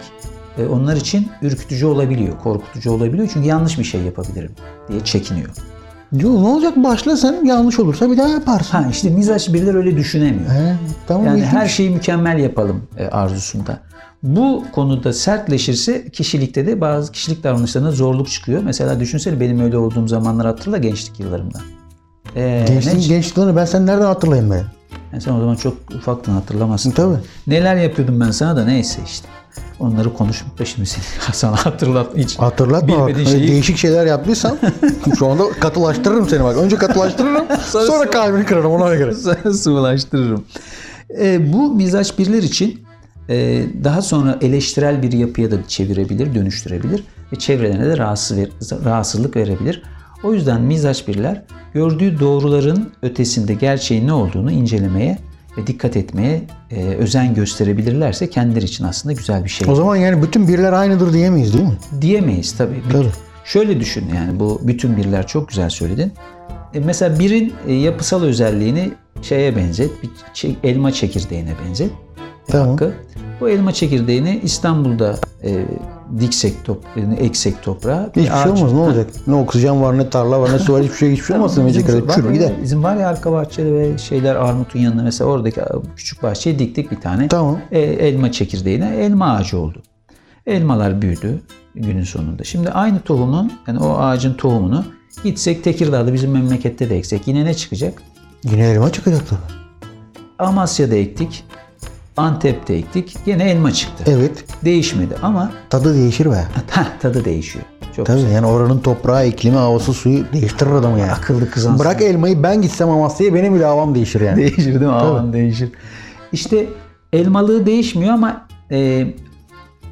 B: e, onlar için ürkütücü olabiliyor, korkutucu olabiliyor. Çünkü yanlış bir şey yapabilirim diye çekiniyor.
C: Yo, ne olacak başla sen yanlış olursa bir daha yaparsın.
B: Ha işte mizaç birileri öyle düşünemiyor.
C: He, tamam
B: Yani
C: ilginç.
B: her şeyi mükemmel yapalım e, arzusunda. Bu konuda sertleşirse kişilikte de bazı kişilik davranışlarına zorluk çıkıyor. Mesela düşünsene benim öyle olduğum zamanları hatırla gençlik yıllarımda. Ee,
C: Gençliğin
B: ne-
C: gençliğini ben sen nereden hatırlayayım be?
B: Yani sen o zaman çok ufaktın hatırlamazsın.
C: Tabii.
B: Neler yapıyordum ben sana da neyse işte. Onları konuşup da şimdi seni [LAUGHS] sana hatırlat hiç.
C: Hatırlatma bak.
B: Bilmediğin
C: Hani
B: şeyi-
C: Değişik
B: [LAUGHS]
C: şeyler yaptıysam şu anda katılaştırırım seni bak. Önce katılaştırırım sonra,
B: sonra-
C: kalbini kırarım ona göre.
B: Sana sıvılaştırırım. E, bu mizaç birler için e, daha sonra eleştirel bir yapıya da çevirebilir, dönüştürebilir ve çevrelerine de rahatsız ver, rahatsızlık verebilir. O yüzden mizaç birler gördüğü doğruların ötesinde gerçeğin ne olduğunu incelemeye ve dikkat etmeye e, özen gösterebilirlerse kendileri için aslında güzel bir şey.
C: O zaman yani bütün birler aynıdır diyemeyiz değil mi?
B: Diyemeyiz tabii. Bir-
C: Tabii.
B: Şöyle düşün yani bu bütün birler çok güzel söyledin. E, mesela birin e, yapısal özelliğini şeye benzet, bir çe- elma çekirdeğine benzet.
C: Tamam.
B: Hakkı. Bu elma çekirdeğini İstanbul'da e, diksek top, yani eksek toprağa. bir
C: Hiçbir şey
B: ağaç-
C: olmaz ne olacak? Ne oksijen var ne tarla var ne su var hiçbir şey hiçbir şey olmaz.
B: Bizim
C: Demeyecek kadar
B: var
C: çürür
B: ya-
C: gider.
B: Bizim var ya arka bahçede ve şeyler Armut'un yanında mesela oradaki küçük bahçeye diktik bir tane.
C: Tamam.
B: E, elma çekirdeğine elma ağacı oldu. Elmalar büyüdü günün sonunda. Şimdi aynı tohumun yani o ağacın tohumunu gitsek Tekirdağ'da bizim memlekette de eksek yine ne çıkacak?
C: Yine elma çıkacak tabii.
B: Amasya'da ektik, Antep'te ektik yine elma çıktı.
C: Evet.
B: Değişmedi ama [LAUGHS]
C: Tadı değişir be.
B: heh, tadı değişiyor. Çok
C: Tabii yani oranın toprağı, iklimi, havası, suyu değiştirir adamı yani.
B: akıllı kızansın.
C: Bırak elmayı ben gitsem Amasya'ya benim bile havam değişir
B: [LAUGHS]
C: yani.
B: değişir değil mi? Aman değişir. İşte elmalığı değişmiyor ama e,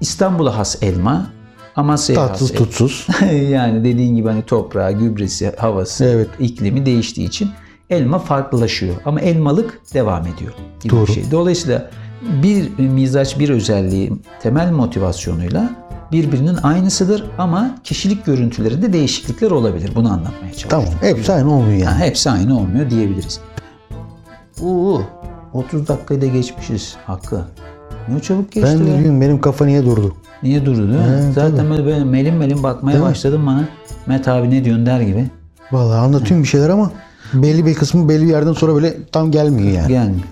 B: İstanbul'a has elma, Amasya'ya
C: Tatsız
B: has
C: tutsuz.
B: [LAUGHS] yani dediğin gibi hani toprağı, gübresi, havası,
C: Evet.
B: iklimi değiştiği için elma farklılaşıyor. Ama elmalık devam ediyor gibi
C: Doğru.
B: bir şey. Dolayısıyla bir mizaç bir özelliği temel motivasyonuyla birbirinin aynısıdır ama kişilik görüntülerinde değişiklikler olabilir. Bunu anlatmaya çalışıyorum.
C: tamam. E- Hepsi aynı olmuyor yani.
B: Yani hepsi aynı olmuyor diyebiliriz. Uuu 30 dakikayı da geçmişiz Hakkı. Ne çabuk geçti
C: Ben
B: be.
C: de diyorum benim kafa niye durdu?
B: Niye durdu değil mi? Zaten böyle, böyle melin melin bakmaya
C: Değil mi?
B: başladım bana. Met abi ne diyorsun der gibi.
C: Vallahi anlatıyorum bir şeyler ama belli bir kısmı belli bir yerden sonra böyle tam gelmiyor yani.
B: Gelmiyor.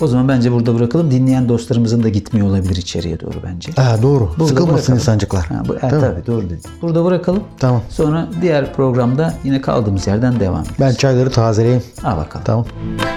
B: O zaman bence burada bırakalım. Dinleyen dostlarımızın da gitmiyor olabilir içeriye doğru bence.
C: Ha, doğru.
B: Burada
C: Sıkılmasın
B: bırakalım.
C: insancıklar.
B: Ha, bu, e, tabii doğru dedin. Burada bırakalım.
C: Tamam.
B: Sonra diğer programda yine kaldığımız yerden devam edelim.
C: Ben çayları tazeleyeyim.
B: Al bakalım.
C: Tamam.